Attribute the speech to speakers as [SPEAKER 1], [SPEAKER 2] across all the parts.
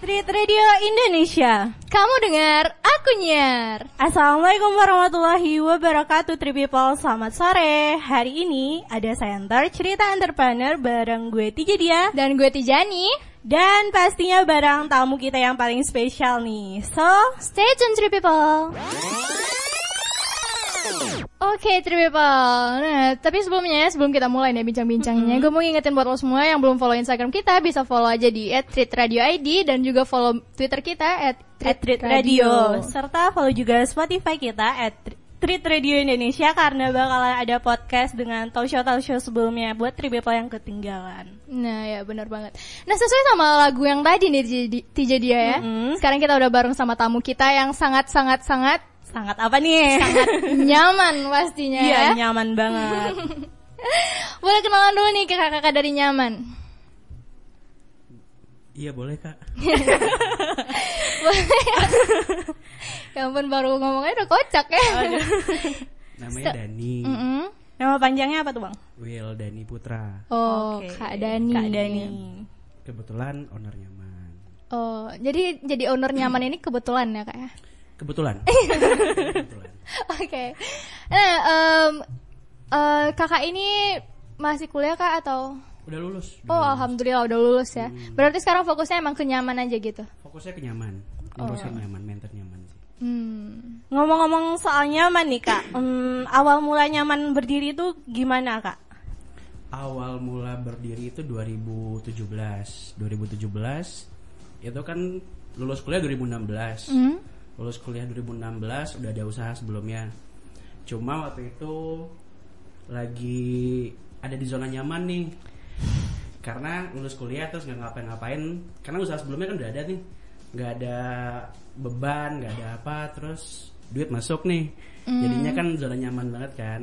[SPEAKER 1] Street Radio Indonesia.
[SPEAKER 2] Kamu dengar, aku nyer.
[SPEAKER 1] Assalamualaikum warahmatullahi wabarakatuh, Tri People. Selamat sore. Hari ini ada Center Cerita Entrepreneur bareng gue Tija Dia
[SPEAKER 2] Dan gue Tijani.
[SPEAKER 1] dan pastinya bareng tamu kita yang paling spesial nih. So,
[SPEAKER 2] Stay tune, Tree People. Oke, Tree People. Nah, tapi sebelumnya, sebelum kita mulai nih bincang-bincangnya, gue mau ngingetin buat lo semua yang belum follow Instagram kita, bisa follow aja di @treatradio_id dan juga follow Twitter kita
[SPEAKER 1] at Treat Radio. Serta follow juga Spotify kita at Tri- Treat Radio Indonesia karena bakalan ada podcast dengan talk show talk show sebelumnya buat Tri People yang ketinggalan.
[SPEAKER 2] Nah ya benar banget Nah sesuai sama lagu yang tadi nih Tij- Tija dia ya
[SPEAKER 1] Mm-mm.
[SPEAKER 2] Sekarang kita udah bareng sama tamu kita yang sangat-sangat-sangat
[SPEAKER 1] Sangat apa nih?
[SPEAKER 2] nyaman pastinya
[SPEAKER 1] Iya,
[SPEAKER 2] ya
[SPEAKER 1] nyaman banget.
[SPEAKER 2] Boleh kenalan dulu nih ke kakak dari nyaman
[SPEAKER 3] Iya boleh kak.
[SPEAKER 2] Ya ampun baru ngomongnya udah kocak ya
[SPEAKER 3] Namanya Dani.
[SPEAKER 2] Mm-mm.
[SPEAKER 1] Nama panjangnya apa tuh, Bang?
[SPEAKER 3] Will Dani Putra.
[SPEAKER 2] Oh
[SPEAKER 1] Oke,
[SPEAKER 2] Kak Dani
[SPEAKER 1] Kak Dani.
[SPEAKER 3] Kebetulan owner nyaman.
[SPEAKER 2] Oh jadi jadi owner nyaman ini kebetulan ya kak ya
[SPEAKER 3] Kebetulan. Kebetulan.
[SPEAKER 2] Oke Nah em, eh, kakak ini masih kuliah kak atau
[SPEAKER 3] Udah lulus.
[SPEAKER 2] Oh alhamdulillah udah lulus ya. Berarti sekarang fokusnya emang kenyaman aja gitu.
[SPEAKER 3] Fokusnya ke nyaman.
[SPEAKER 2] Oh.
[SPEAKER 3] Ngurusin nyaman, mentor nyaman sih.
[SPEAKER 2] Hmm.
[SPEAKER 1] Ngomong-ngomong soal nyaman nih, Kak. Hmm, awal mula nyaman berdiri itu gimana, Kak?
[SPEAKER 3] Awal mula berdiri itu 2017. 2017 itu kan lulus kuliah 2016.
[SPEAKER 2] Hmm.
[SPEAKER 3] Lulus kuliah 2016 udah ada usaha sebelumnya. Cuma waktu itu lagi ada di zona nyaman nih. Karena lulus kuliah terus nggak ngapa-ngapain. Karena usaha sebelumnya kan udah ada nih. Nggak ada beban, nggak ada apa. Terus duit masuk nih. Jadinya kan zona nyaman banget kan.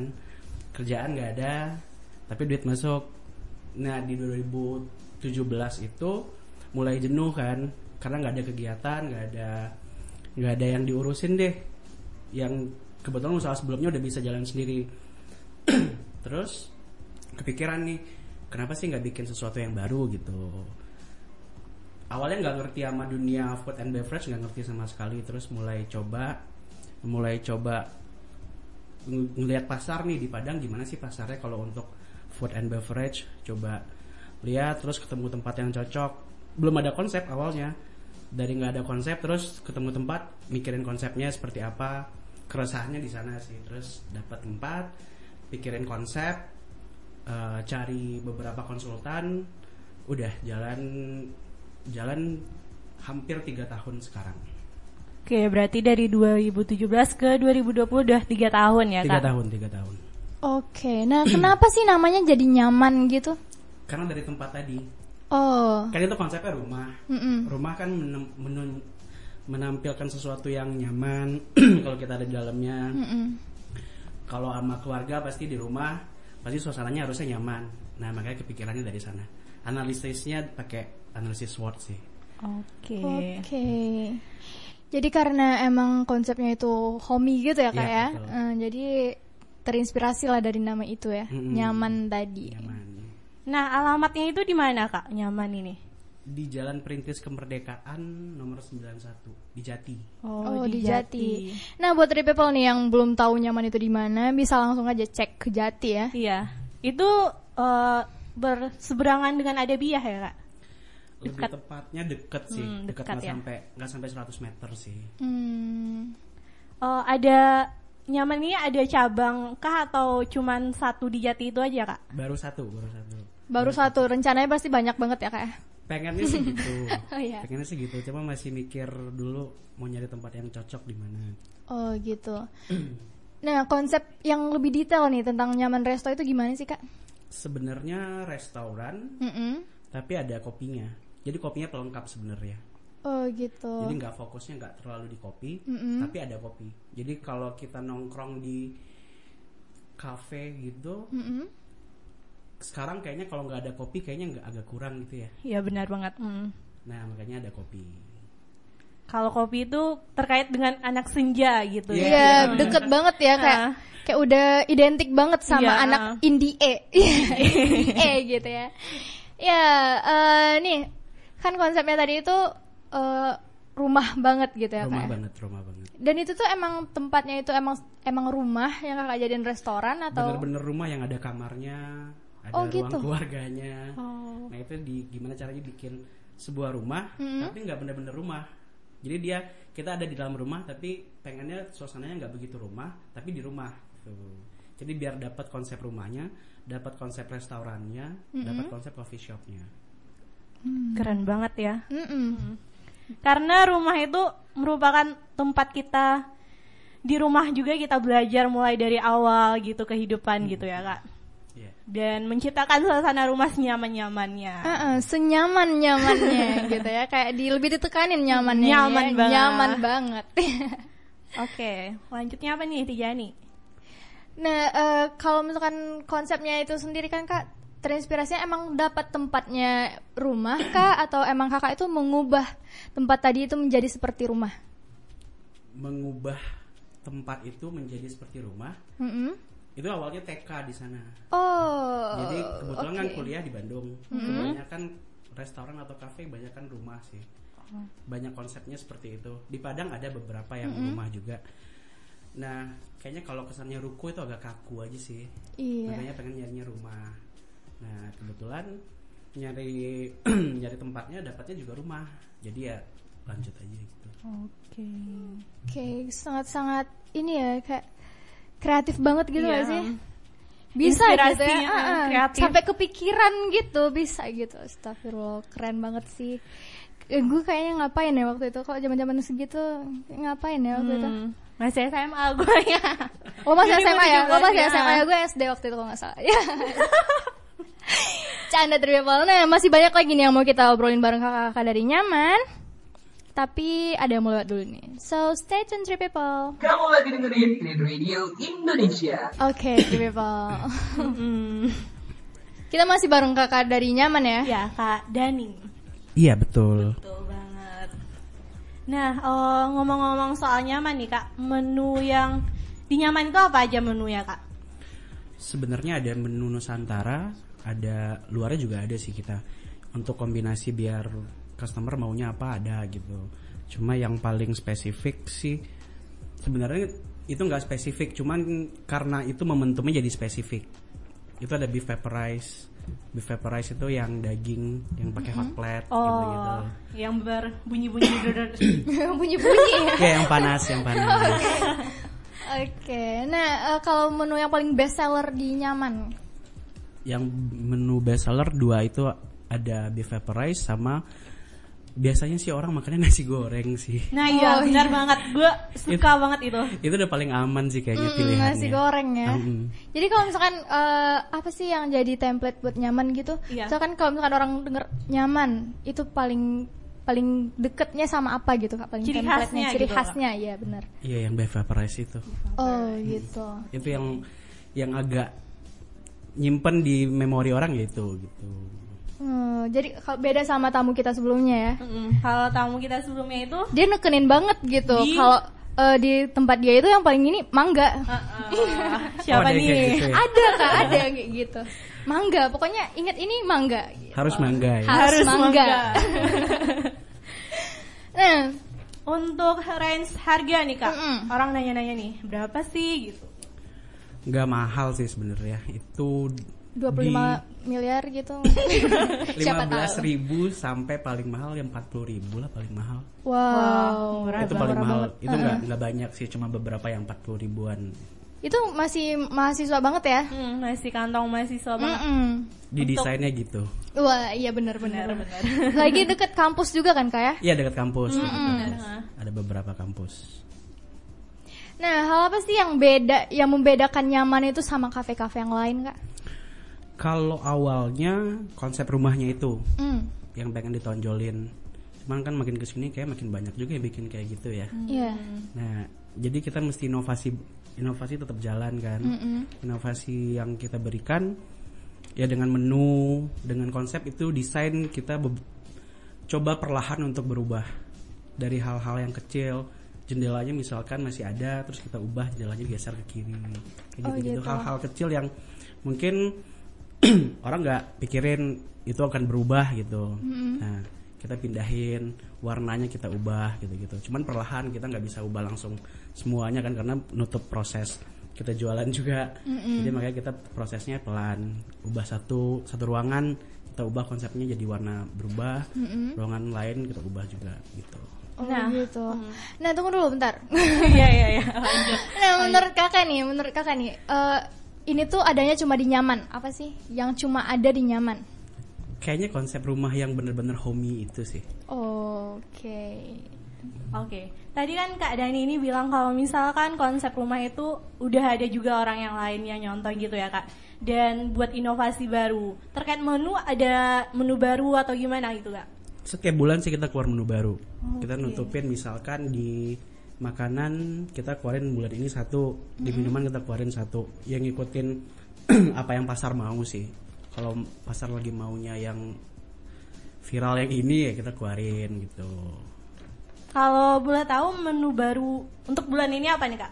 [SPEAKER 3] Kerjaan nggak ada, tapi duit masuk. Nah di 2017 itu mulai jenuh kan. Karena nggak ada kegiatan, nggak ada nggak ada yang diurusin deh yang kebetulan usaha sebelumnya udah bisa jalan sendiri terus kepikiran nih kenapa sih nggak bikin sesuatu yang baru gitu awalnya nggak ngerti sama dunia food and beverage nggak ngerti sama sekali terus mulai coba mulai coba ng- ngelihat pasar nih di Padang gimana sih pasarnya kalau untuk food and beverage coba lihat terus ketemu tempat yang cocok belum ada konsep awalnya dari nggak ada konsep terus ketemu tempat mikirin konsepnya seperti apa keresahannya di sana sih terus dapat tempat pikirin konsep eh, cari beberapa konsultan udah jalan jalan hampir tiga tahun sekarang
[SPEAKER 1] Oke, berarti dari 2017 ke 2020 udah 3 tahun ya,
[SPEAKER 3] tiga
[SPEAKER 1] Kak?
[SPEAKER 3] tahun tiga tahun
[SPEAKER 2] Oke. Nah kenapa sih namanya jadi nyaman gitu?
[SPEAKER 3] karena dari tempat tadi
[SPEAKER 2] Oh.
[SPEAKER 3] kan itu konsepnya rumah
[SPEAKER 1] Hmm.
[SPEAKER 2] Mm-mm.
[SPEAKER 3] rumah kan menem- menun- menampilkan sesuatu yang nyaman kalau kita ada di dalamnya
[SPEAKER 1] Hmm.
[SPEAKER 2] Mm-mm.
[SPEAKER 3] kalau sama keluarga pasti di rumah pasti suasananya harusnya nyaman nah makanya kepikirannya dari sana analisisnya pakai analisis word sih
[SPEAKER 1] Oke.
[SPEAKER 2] Oke. Jadi karena emang konsepnya itu homey gitu ya kak
[SPEAKER 3] Iya,
[SPEAKER 2] ya.
[SPEAKER 3] betul.
[SPEAKER 2] Eh, jadi terinspirasi lah dari nama itu ya.
[SPEAKER 3] Mm-mm.
[SPEAKER 2] Nyaman tadi.
[SPEAKER 3] nyaman
[SPEAKER 1] Nah, alamatnya itu di mana, Kak? Nyaman ini.
[SPEAKER 3] di Jalan Perintis Kemerdekaan nomor 91 di Jati
[SPEAKER 2] Oh, di Jati. Nah buat three people nih yang belum tahu nyaman itu di mana, bisa langsung aja cek ke Jati ya.
[SPEAKER 1] Iya. Itu eh, berseberangan dengan ada biah ya, Kak?
[SPEAKER 3] lebih tepatnya deket sih
[SPEAKER 1] Hmm,
[SPEAKER 3] deket
[SPEAKER 1] dekat
[SPEAKER 3] nggak
[SPEAKER 1] ya.
[SPEAKER 3] sampai nggak sampai 100 meter sih
[SPEAKER 2] Hmm.
[SPEAKER 1] Eh, ada nyaman ini ada cabang kah atau cuman satu di Jati itu aja, Kak?
[SPEAKER 3] baru satu baru satu
[SPEAKER 2] Baru satu rencananya pasti banyak banget ya kak. ya?
[SPEAKER 3] pengennya sih gitu
[SPEAKER 2] Oh, iya.
[SPEAKER 3] pengennya sih gitu cuma masih mikir dulu mau nyari tempat yang cocok di mana
[SPEAKER 2] Oh gitu. nah konsep yang lebih detail nih tentang nyaman resto itu gimana sih kak?
[SPEAKER 3] sebenarnya restoran
[SPEAKER 2] Mm-mm.
[SPEAKER 3] tapi ada kopinya jadi kopinya pelengkap sebenarnya
[SPEAKER 2] Oh gitu.
[SPEAKER 3] jadi nggak fokusnya nggak terlalu di kopi
[SPEAKER 2] Mm-mm.
[SPEAKER 3] tapi ada kopi jadi kalau kita nongkrong di kafe gitu
[SPEAKER 2] Mm-mm.
[SPEAKER 3] sekarang kayaknya kalau nggak ada kopi kayaknya nggak agak kurang gitu ya
[SPEAKER 1] Iya, benar banget. Mm.
[SPEAKER 3] nah makanya ada kopi
[SPEAKER 1] Kalau kopi itu terkait dengan anak senja gitu ya.
[SPEAKER 2] Iya deket banget ya kayak kayak udah identik banget sama
[SPEAKER 1] Iya.
[SPEAKER 2] anak E. Iya, indie E indie gitu ya. Ya eh, nih kan konsepnya tadi itu eh, rumah banget gitu ya kak.
[SPEAKER 3] rumah
[SPEAKER 2] ya?
[SPEAKER 3] banget rumah banget
[SPEAKER 2] Dan itu tuh emang tempatnya itu emang emang rumah yang kakak jadiin restoran atau?
[SPEAKER 3] bener-bener rumah yang ada kamarnya ada
[SPEAKER 2] Oh,
[SPEAKER 3] ruang
[SPEAKER 2] gitu.
[SPEAKER 3] keluarganya
[SPEAKER 1] Oh.
[SPEAKER 3] nah itu di gimana caranya bikin sebuah rumah
[SPEAKER 2] Hmm.
[SPEAKER 3] tapi nggak bener-bener rumah jadi dia kita ada di dalam rumah tapi pengennya suasananya nggak begitu rumah tapi di rumah gitu. jadi biar dapat konsep rumahnya dapat konsep restorannya
[SPEAKER 2] Hmm.
[SPEAKER 3] dapat konsep coffee shopnya
[SPEAKER 1] Keren banget ya.
[SPEAKER 2] Mm-mm.
[SPEAKER 1] Karena rumah itu merupakan tempat kita di rumah juga kita belajar mulai dari awal gitu kehidupan gitu ya kak.
[SPEAKER 3] Iya.
[SPEAKER 1] Dan menciptakan suasana rumah senyaman-nyamannya.
[SPEAKER 2] Ah, ah, senyaman nyamannya gitu ya kayak di lebih ditekanin nyamannya
[SPEAKER 1] Nyaman
[SPEAKER 2] ya.
[SPEAKER 1] banget.
[SPEAKER 2] nyaman banget
[SPEAKER 1] Oke, lanjutnya apa nih Tijani?
[SPEAKER 2] nah eh, kalau misalkan konsepnya itu sendiri kan kak terinspirasinya emang dapat tempatnya rumah kak atau emang kakak itu mengubah tempat tadi itu menjadi seperti rumah
[SPEAKER 3] mengubah tempat itu menjadi seperti rumah
[SPEAKER 2] Mm-mm.
[SPEAKER 3] itu awalnya TK di sana
[SPEAKER 2] oh
[SPEAKER 3] Jadi kebetulan kan
[SPEAKER 2] oke. Hmm.
[SPEAKER 3] kuliah di Bandung, kebanyakan restoran atau kafe kebanyakan rumah sih.
[SPEAKER 2] Oh.
[SPEAKER 3] Banyak konsepnya seperti itu. Di Padang ada beberapa yang
[SPEAKER 2] Hmm.
[SPEAKER 3] rumah juga. Nah, kayaknya kalau kesannya ruko itu agak kaku aja sih.
[SPEAKER 2] iya
[SPEAKER 3] Makanya pengen nyarinya rumah. Nah, kebetulan nyari nyari tempatnya dapatnya juga rumah. Jadi ya lanjut aja gitu.
[SPEAKER 1] Oke.
[SPEAKER 2] oke sangat-sangat ini ya kayak kreatif banget gitu
[SPEAKER 1] Iya.
[SPEAKER 2] gak sih bisa gitu ya
[SPEAKER 1] Inspirasinya,
[SPEAKER 2] ah, ah.
[SPEAKER 1] kreatif.
[SPEAKER 2] sampai kepikiran gitu bisa gitu astagfirullah keren banget sih Eh, gue kayaknya ngapain ya waktu itu kalau zaman zaman segitu ngapain ya waktu itu
[SPEAKER 1] Hmm, masih SMA gue ya.
[SPEAKER 2] lo masih
[SPEAKER 1] Jadi
[SPEAKER 2] SMA ya
[SPEAKER 1] gue
[SPEAKER 2] lo masih
[SPEAKER 1] juga.
[SPEAKER 2] SMA ya gue SD waktu itu kalau nggak salah ya canda terbiasa nah masih banyak lagi nih yang mau kita obrolin bareng kakak-kakak dari nyaman tapi ada yang mau lewat dulu nih so stay tune three people
[SPEAKER 4] Kamu lagi dengerin Clean Radio Indonesia.
[SPEAKER 2] oke three people
[SPEAKER 1] Hmm,
[SPEAKER 2] kita masih bareng kakak dari nyaman ya
[SPEAKER 1] ya kak Dani.
[SPEAKER 3] Iya, betul.
[SPEAKER 1] Betul banget. Nah, eh, ngomong-ngomong soal nyaman nih kak, menu yang di nyaman itu apa aja menunya kak?
[SPEAKER 3] Sebenarnya ada menu Nusantara, ada luarnya juga ada sih kita. Untuk kombinasi biar customer maunya apa ada gitu. Cuma yang paling spesifik sih sebenarnya itu nggak spesifik, cuman karena itu momentumnya jadi spesifik. Itu ada beef pepper rice. Beef pepper rice itu yang daging yang pakai hot plate gitu-gitu.
[SPEAKER 1] Oh, yang berbunyi-bunyi dodot.
[SPEAKER 2] bunyi-bunyi ya
[SPEAKER 3] Ya yang panas, yang panas.
[SPEAKER 2] oke nah eh, kalau menu yang paling best seller di nyaman
[SPEAKER 3] yang menu best seller dua itu ada beef pepper rice sama biasanya sih orang makannya nasi goreng sih.
[SPEAKER 1] Nah iya,
[SPEAKER 2] Oh,
[SPEAKER 1] benar banget. Gue suka banget itu.
[SPEAKER 3] Itu udah paling aman sih
[SPEAKER 2] Mm,
[SPEAKER 3] kayaknya pilihannya.
[SPEAKER 2] nasi goreng ya
[SPEAKER 3] Mm-mm.
[SPEAKER 2] jadi kalau misalkan eh, apa sih yang jadi template buat nyaman gitu
[SPEAKER 1] Iya.
[SPEAKER 2] misalkan kalau misalkan orang denger nyaman itu paling paling deketnya sama apa gitu kak paling
[SPEAKER 1] Ciri
[SPEAKER 2] template-nya,
[SPEAKER 1] khasnya
[SPEAKER 2] ciri
[SPEAKER 1] gitu, Kak.
[SPEAKER 2] khasnya ya benar
[SPEAKER 3] Iya yang beef pepper rice itu.
[SPEAKER 2] oh gitu
[SPEAKER 3] Itu yang yang agak nyimpen di memori orang ya itu gitu.
[SPEAKER 2] Hmm, jadi kalau beda sama tamu kita sebelumnya ya
[SPEAKER 1] Mm-mm. Kalau tamu kita sebelumnya itu
[SPEAKER 2] dia nekenin banget gitu
[SPEAKER 1] Di-
[SPEAKER 2] kalau eh, di tempat dia itu yang paling ini mangga
[SPEAKER 1] eh, siapa
[SPEAKER 3] Oh, ada yang kayak
[SPEAKER 1] nih?
[SPEAKER 3] gitu ya?
[SPEAKER 2] ada kak ada yang kayak gitu mangga pokoknya ingat ini mangga
[SPEAKER 3] Harus mangga ya.
[SPEAKER 2] Harus mangga. nah
[SPEAKER 1] Untuk range harga nih kak,
[SPEAKER 2] Mm-mm.
[SPEAKER 1] orang nanya-nanya nih berapa sih gitu?
[SPEAKER 3] Nggak mahal sih sebenarnya. Itu
[SPEAKER 2] 25 miliar gitu siapa
[SPEAKER 3] belas
[SPEAKER 2] tahu
[SPEAKER 3] ribu sampai paling mahal yang 40.000 ribu lah paling mahal.
[SPEAKER 2] wow,
[SPEAKER 1] murah
[SPEAKER 3] itu paling mahal itu nggak nggak banyak sih cuma beberapa yang 40 ribuan
[SPEAKER 2] itu masih mahasiswa banget ya
[SPEAKER 1] Hmm, masih kantong mahasiswa banget.
[SPEAKER 2] Mm-mm.
[SPEAKER 3] di desainnya gitu
[SPEAKER 2] wah iya benar-benar lagi deket kampus juga kan kak ya
[SPEAKER 3] iya dekat kampus, dekat kampus. ada beberapa kampus
[SPEAKER 2] nah hal apa sih yang beda yang membedakan nyaman itu sama kafe-kafe yang lain kak
[SPEAKER 3] kalau awalnya konsep rumahnya itu
[SPEAKER 2] Hmm.
[SPEAKER 3] yang pengen ditonjolin cuman kan makin kesini kayak makin banyak juga yang bikin kayak gitu ya
[SPEAKER 2] Iya.
[SPEAKER 3] nah jadi kita mesti inovasi inovasi tetap jalan kan inovasi yang kita berikan ya dengan menu dengan konsep itu desain kita be- coba perlahan untuk berubah dari hal-hal yang kecil jendelanya misalkan masih ada terus kita ubah jendelanya geser ke kiri kayak
[SPEAKER 2] Oh,
[SPEAKER 3] gitu-gitu
[SPEAKER 2] gitu.
[SPEAKER 3] hal-hal kecil yang mungkin orang nggak pikirin itu akan berubah gitu nah kita pindahin warnanya kita ubah gitu-gitu cuman perlahan kita nggak bisa ubah langsung semuanya kan karena nutup proses kita jualan juga jadi makanya kita prosesnya pelan ubah satu satu ruangan kita ubah konsepnya jadi warna berubah ruangan lain kita ubah juga gitu
[SPEAKER 2] Oh,
[SPEAKER 1] Nah.
[SPEAKER 2] gitu. Nah, tunggu dulu bentar.
[SPEAKER 1] Iya iya iya. lanjut.
[SPEAKER 2] nah, menurut kakak nih, menurut kakak nih, eh, ini tuh adanya cuma di nyaman. Apa sih yang cuma ada di nyaman?
[SPEAKER 3] kayaknya konsep rumah yang bener-bener homey itu sih
[SPEAKER 2] Oke.
[SPEAKER 1] Oke, tadi kan Kak Dani ini bilang kalau misalkan konsep rumah itu udah ada juga orang yang lain yang nyontoh gitu ya Kak Dan buat inovasi baru, terkait menu ada menu baru atau gimana gitu Kak?
[SPEAKER 3] setiap bulan sih kita keluar menu baru. Kita nutupin misalkan di makanan kita keluarin bulan ini satu, di minuman kita keluarin satu. Yang ngikutin apa yang pasar mau sih. Kalau pasar lagi maunya yang viral yang ini ya kita keluarin gitu.
[SPEAKER 1] Kalau boleh tahu menu baru untuk bulan ini apa nih Kak?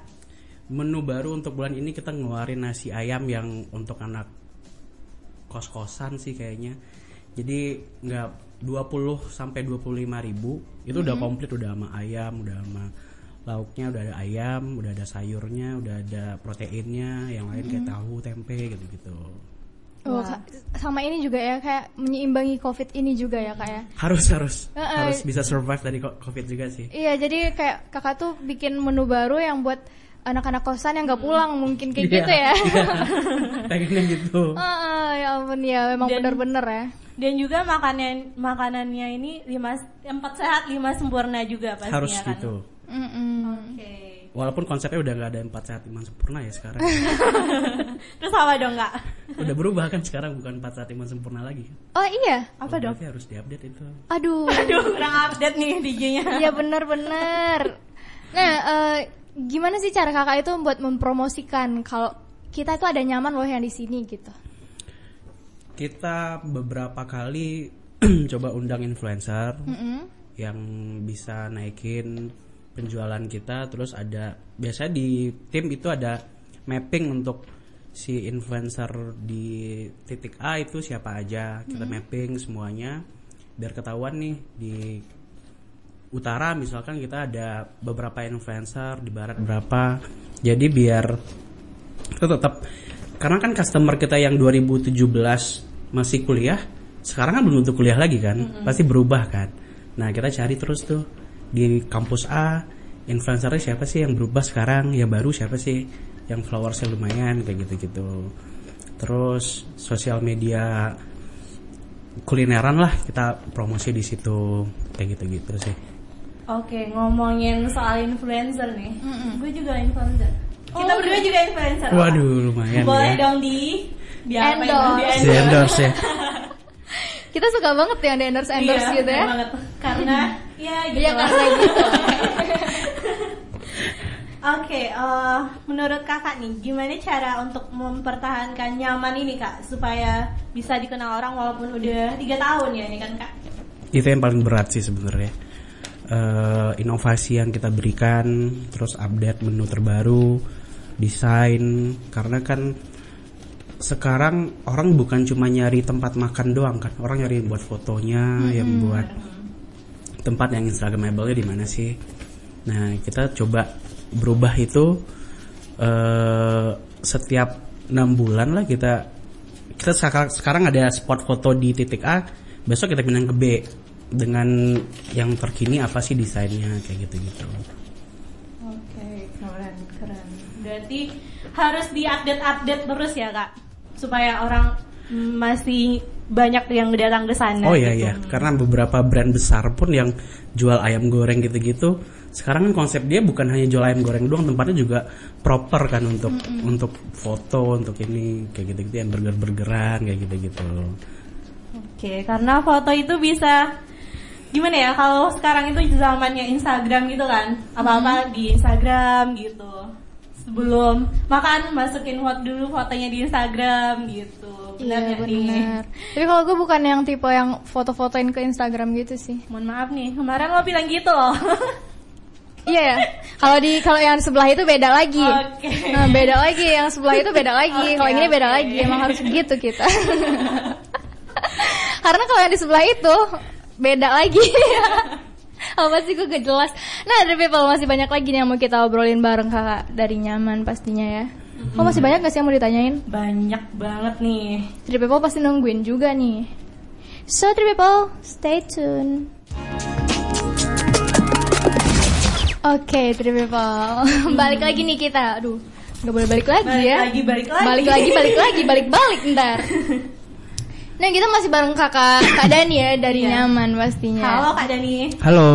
[SPEAKER 3] Menu baru untuk bulan ini kita ngeluarin nasi ayam yang untuk anak kos-kosan sih kayaknya. Jadi nggak 20 sampai 25 ribu itu udah
[SPEAKER 2] Mm-hmm.
[SPEAKER 3] komplit udah sama ayam, udah sama lauknya, udah ada ayam, udah ada sayurnya, udah ada proteinnya, yang lain
[SPEAKER 2] Mm-hmm.
[SPEAKER 3] kayak tahu, tempe gitu-gitu.
[SPEAKER 2] Oh, Kak, sama ini juga ya kayak menyeimbangi COVID ini juga ya kak ya.
[SPEAKER 3] Harus harus
[SPEAKER 2] Eh, eh.
[SPEAKER 3] harus bisa survive dari co- covid juga sih.
[SPEAKER 2] Iya, jadi kayak kakak tuh bikin menu baru yang buat anak-anak kosan yang
[SPEAKER 1] Hmm.
[SPEAKER 2] nggak pulang mungkin kayak gitu
[SPEAKER 1] Iya.
[SPEAKER 2] ya. Oh,
[SPEAKER 3] Pengennya gitu.
[SPEAKER 2] Ah, ya ampun ya, emang
[SPEAKER 1] Dan-
[SPEAKER 2] bener-bener ya.
[SPEAKER 1] Dan juga makanan makanannya ini lima empat sehat lima sempurna juga pastinya
[SPEAKER 3] Harus
[SPEAKER 1] kan?
[SPEAKER 3] gitu.
[SPEAKER 2] Mm-mm.
[SPEAKER 1] Oke.
[SPEAKER 3] Walaupun konsepnya udah nggak ada empat sehat lima sempurna ya sekarang.
[SPEAKER 1] Terus apa dong Kak?
[SPEAKER 3] udah berubah kan sekarang bukan empat sehat lima sempurna lagi.
[SPEAKER 2] Oh iya,
[SPEAKER 1] Apa dong?
[SPEAKER 3] Berarti harus diupdate itu.
[SPEAKER 2] aduh.
[SPEAKER 1] Aduh kurang update nih DJ-nya.
[SPEAKER 2] Iya bener-bener. Nah, eh, gimana sih cara kakak itu buat mempromosikan kalau kita tuh ada nyaman loh yang di sini gitu?
[SPEAKER 3] Kita beberapa kali coba undang influencer
[SPEAKER 2] Mm-mm.
[SPEAKER 1] Hmm?
[SPEAKER 3] yang bisa naikin penjualan kita terus ada biasanya di tim itu ada mapping untuk si influencer di titik A itu siapa aja kita mapping semuanya biar ketahuan nih di utara misalkan kita ada beberapa influencer di barat berapa jadi biar itu tetap karena kan customer kita yang 2017 masih kuliah sekarang kan belum untuk kuliah lagi kan pasti berubah kan nah kita cari terus tuh di kampus A influencernya siapa sih yang berubah sekarang yang baru siapa sih yang followersnya lumayan kayak gitu-gitu terus sosial media kulineran lah kita promosi di situ kayak gitu-gitu sih
[SPEAKER 1] Oke, ngomongin soal influencer nih. Gue juga influencer.
[SPEAKER 2] Oh,
[SPEAKER 1] Kita berdua
[SPEAKER 2] iya.
[SPEAKER 1] juga influencer.
[SPEAKER 3] waduh lumayan
[SPEAKER 1] Boleh
[SPEAKER 3] ya
[SPEAKER 1] dong di di apa
[SPEAKER 2] Endorse.
[SPEAKER 1] emang di
[SPEAKER 3] Di endorse ya
[SPEAKER 2] Kita suka banget yang di endorse endorse
[SPEAKER 1] Iya,
[SPEAKER 2] gitu ya.
[SPEAKER 1] bener banget. Karena ya gitu.
[SPEAKER 2] Iya
[SPEAKER 1] lah.
[SPEAKER 2] karena gitu.
[SPEAKER 1] Oke, eh, menurut kakak nih, gimana cara untuk mempertahankan nyaman ini kak supaya bisa dikenal orang walaupun udah tiga tahun ya ini kan kak?
[SPEAKER 3] itu yang paling berat sih sebenarnya Eh, inovasi yang kita berikan terus update menu terbaru desain karena kan sekarang orang bukan cuma nyari tempat makan doang kan orang nyari buat fotonya yang
[SPEAKER 1] Hmm.
[SPEAKER 3] buat tempat yang instagramable di mana sih nah kita coba berubah itu eh setiap enam bulan lah kita kita sekarang sekarang ada spot foto di titik A besok kita pindah ke B dengan yang terkini apa sih desainnya kayak gitu gitu
[SPEAKER 1] Oke, keren, keren. Berarti harus diupdate-update terus ya kak, supaya orang mm, masih banyak yang datang ke sana.
[SPEAKER 3] oh iya
[SPEAKER 1] gitu.
[SPEAKER 3] iya karena beberapa brand besar pun yang jual ayam goreng gitu gitu sekarang kan konsep dia bukan hanya jual ayam goreng doang tempatnya juga proper kan untuk untuk foto untuk ini kayak gitu gitu yang burger burgeran kayak gitu gitu
[SPEAKER 1] Oke, karena foto itu bisa gimana ya kalau sekarang itu zamannya Instagram gitu kan, apa-apa di Instagram gitu. Sebelum makan masukin foto dulu fotonya di Instagram gitu. Benar
[SPEAKER 2] Iya
[SPEAKER 1] nggak nih?
[SPEAKER 2] bener. Tapi kalau gue bukan yang tipe yang foto-fotoin ke Instagram gitu sih.
[SPEAKER 1] Mohon maaf nih, kemarin lo bilang gitu loh.
[SPEAKER 2] Iya ya. Kalau di kalau yang sebelah itu beda lagi.
[SPEAKER 1] Oke.
[SPEAKER 2] Nah, beda lagi yang sebelah itu beda lagi. gitu
[SPEAKER 1] Oke,
[SPEAKER 2] kalau yang ini beda
[SPEAKER 1] oke.
[SPEAKER 2] lagi. Emang harus begitu kita. Karena kalau yang di sebelah itu beda lagi. Apa sih gue gak jelas. Nah, ada people masih banyak lagi nih yang mau kita obrolin bareng kakak dari nyaman pastinya ya. Oh masih banyak gak sih yang mau ditanyain?
[SPEAKER 1] Banyak banget nih.
[SPEAKER 2] Three people pasti nungguin juga nih. So three people, stay tune. Oke, three people. balik lagi nih kita. Aduh, nggak boleh balik lagi
[SPEAKER 1] Balik
[SPEAKER 2] ya.
[SPEAKER 1] Nah, lagi, balik lagi.
[SPEAKER 2] Balik lagi, balik lagi, balik balik ntar. Nah, kita masih bareng kakak Kak Dani ya dari
[SPEAKER 1] Iya.
[SPEAKER 2] nyaman pastinya.
[SPEAKER 1] Halo Kak
[SPEAKER 2] Iya.
[SPEAKER 1] Dani.
[SPEAKER 3] Halo.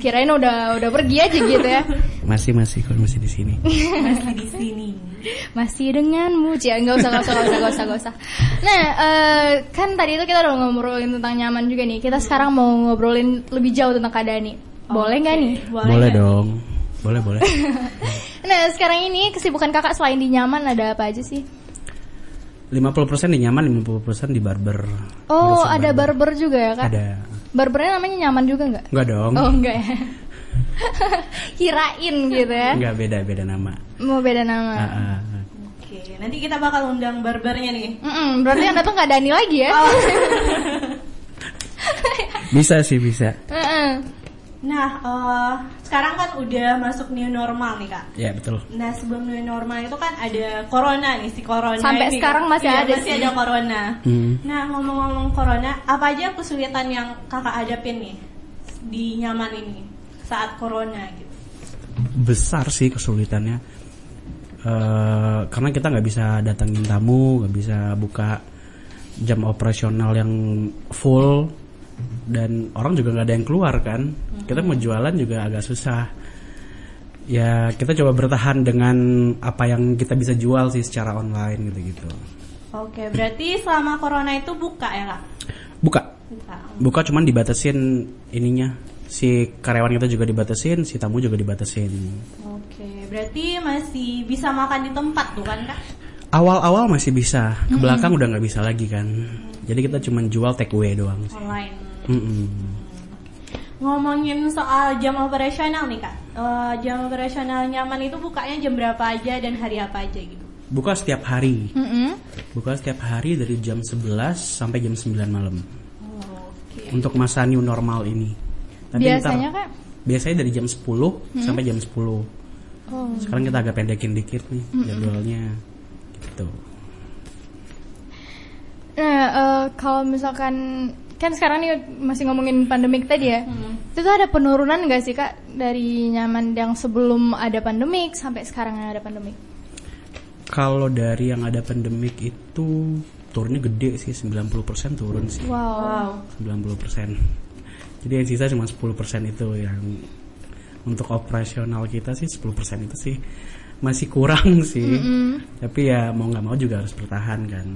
[SPEAKER 2] Kirain udah udah pergi aja gitu ya.
[SPEAKER 3] Masih masih kok masih di sini.
[SPEAKER 1] Masih di sini.
[SPEAKER 2] Masih denganmu, Cia. Enggak usah, enggak usah, enggak usah, enggak usah, nggak usah. Nah, eh, kan tadi itu kita udah ngobrolin tentang nyaman juga nih. Kita sekarang mau ngobrolin lebih jauh tentang keadaan nih. Boleh nggak nih?
[SPEAKER 3] Boleh
[SPEAKER 1] nggak?
[SPEAKER 3] dong. Boleh boleh.
[SPEAKER 2] Nah, sekarang ini kesibukan kakak selain di nyaman ada apa aja sih?
[SPEAKER 3] 50% di nyaman, 50% di barber.
[SPEAKER 2] Oh,
[SPEAKER 3] Urusan
[SPEAKER 2] ada barber juga ya, Kak?
[SPEAKER 3] Ada. Iya.
[SPEAKER 2] Barbernya namanya nyaman juga nggak?
[SPEAKER 3] Enggak dong.
[SPEAKER 2] Oh, enggak ya. Kirain gitu ya.
[SPEAKER 3] Enggak beda beda nama.
[SPEAKER 2] Mau beda nama.
[SPEAKER 3] Ah, ah, ah.
[SPEAKER 1] Oke, nanti kita bakal undang barbernya nih. Oh.
[SPEAKER 2] Mm-mm, berarti anda tuh nggak Dani lagi ya?
[SPEAKER 3] Oh. Bisa sih bisa.
[SPEAKER 2] Mm-mm.
[SPEAKER 1] Nah, eh, sekarang kan udah masuk new normal nih Kak.
[SPEAKER 3] Ya betul.
[SPEAKER 1] Nah sebelum new normal itu kan ada corona nih si corona
[SPEAKER 2] Sampai
[SPEAKER 1] ini.
[SPEAKER 2] sekarang masih
[SPEAKER 1] Iya,
[SPEAKER 2] ada
[SPEAKER 1] masih
[SPEAKER 2] sih.
[SPEAKER 1] ada corona.
[SPEAKER 3] Hmm.
[SPEAKER 1] Nah ngomong-ngomong corona, apa aja kesulitan yang kakak hadapin nih di nyaman ini saat corona gitu?
[SPEAKER 3] besar sih kesulitannya Eh, karena kita nggak bisa datangin tamu nggak bisa buka jam operasional yang full dan orang juga nggak ada yang keluar kan kita mau jualan juga agak susah ya kita coba bertahan dengan apa yang kita bisa jual sih secara online gitu gitu
[SPEAKER 1] Oke, berarti selama corona itu buka ya kak?
[SPEAKER 3] buka
[SPEAKER 1] Buka.
[SPEAKER 3] buka cuman dibatasin ininya si karyawan kita juga dibatasin si tamu juga dibatasin
[SPEAKER 1] Oke, berarti masih bisa makan di tempat tuh kan kak?
[SPEAKER 3] Awal-awal masih bisa, ke belakang udah nggak bisa lagi kan. Jadi kita cuma jual take away doang.
[SPEAKER 1] Online.
[SPEAKER 3] Mm-mm.
[SPEAKER 1] Ngomongin soal jam operasional nih kak, Eh, jam operasional nyaman itu bukanya jam berapa aja dan hari apa aja gitu?
[SPEAKER 3] Buka setiap hari.
[SPEAKER 2] Mm-mm.
[SPEAKER 3] Buka setiap hari dari jam 11 sampai jam 9 malam.
[SPEAKER 1] Oke.
[SPEAKER 3] Untuk masa new normal ini. Tapi
[SPEAKER 2] Biasanya kan?
[SPEAKER 3] ntar-
[SPEAKER 2] kak?
[SPEAKER 3] Biasanya dari jam 10 sampai jam 10.
[SPEAKER 2] Oh.
[SPEAKER 3] Sekarang kita agak pendekin dikit nih jadwalnya. Gitu.
[SPEAKER 2] Nah, eh, kalau misalkan kan sekarang nih masih ngomongin pandemik tadi ya.
[SPEAKER 1] Hmm.
[SPEAKER 2] Itu tuh ada penurunan gak sih kak dari nyaman yang sebelum ada pandemik sampai sekarang yang ada pandemik?
[SPEAKER 3] Kalau dari yang ada pandemik itu turunnya gede sih 90% turun sih.
[SPEAKER 2] Wow.
[SPEAKER 3] 90%. Jadi yang sisa cuma 10% itu yang untuk operasional kita sih 10% itu sih masih kurang sih. Tapi ya mau nggak mau juga harus bertahan kan.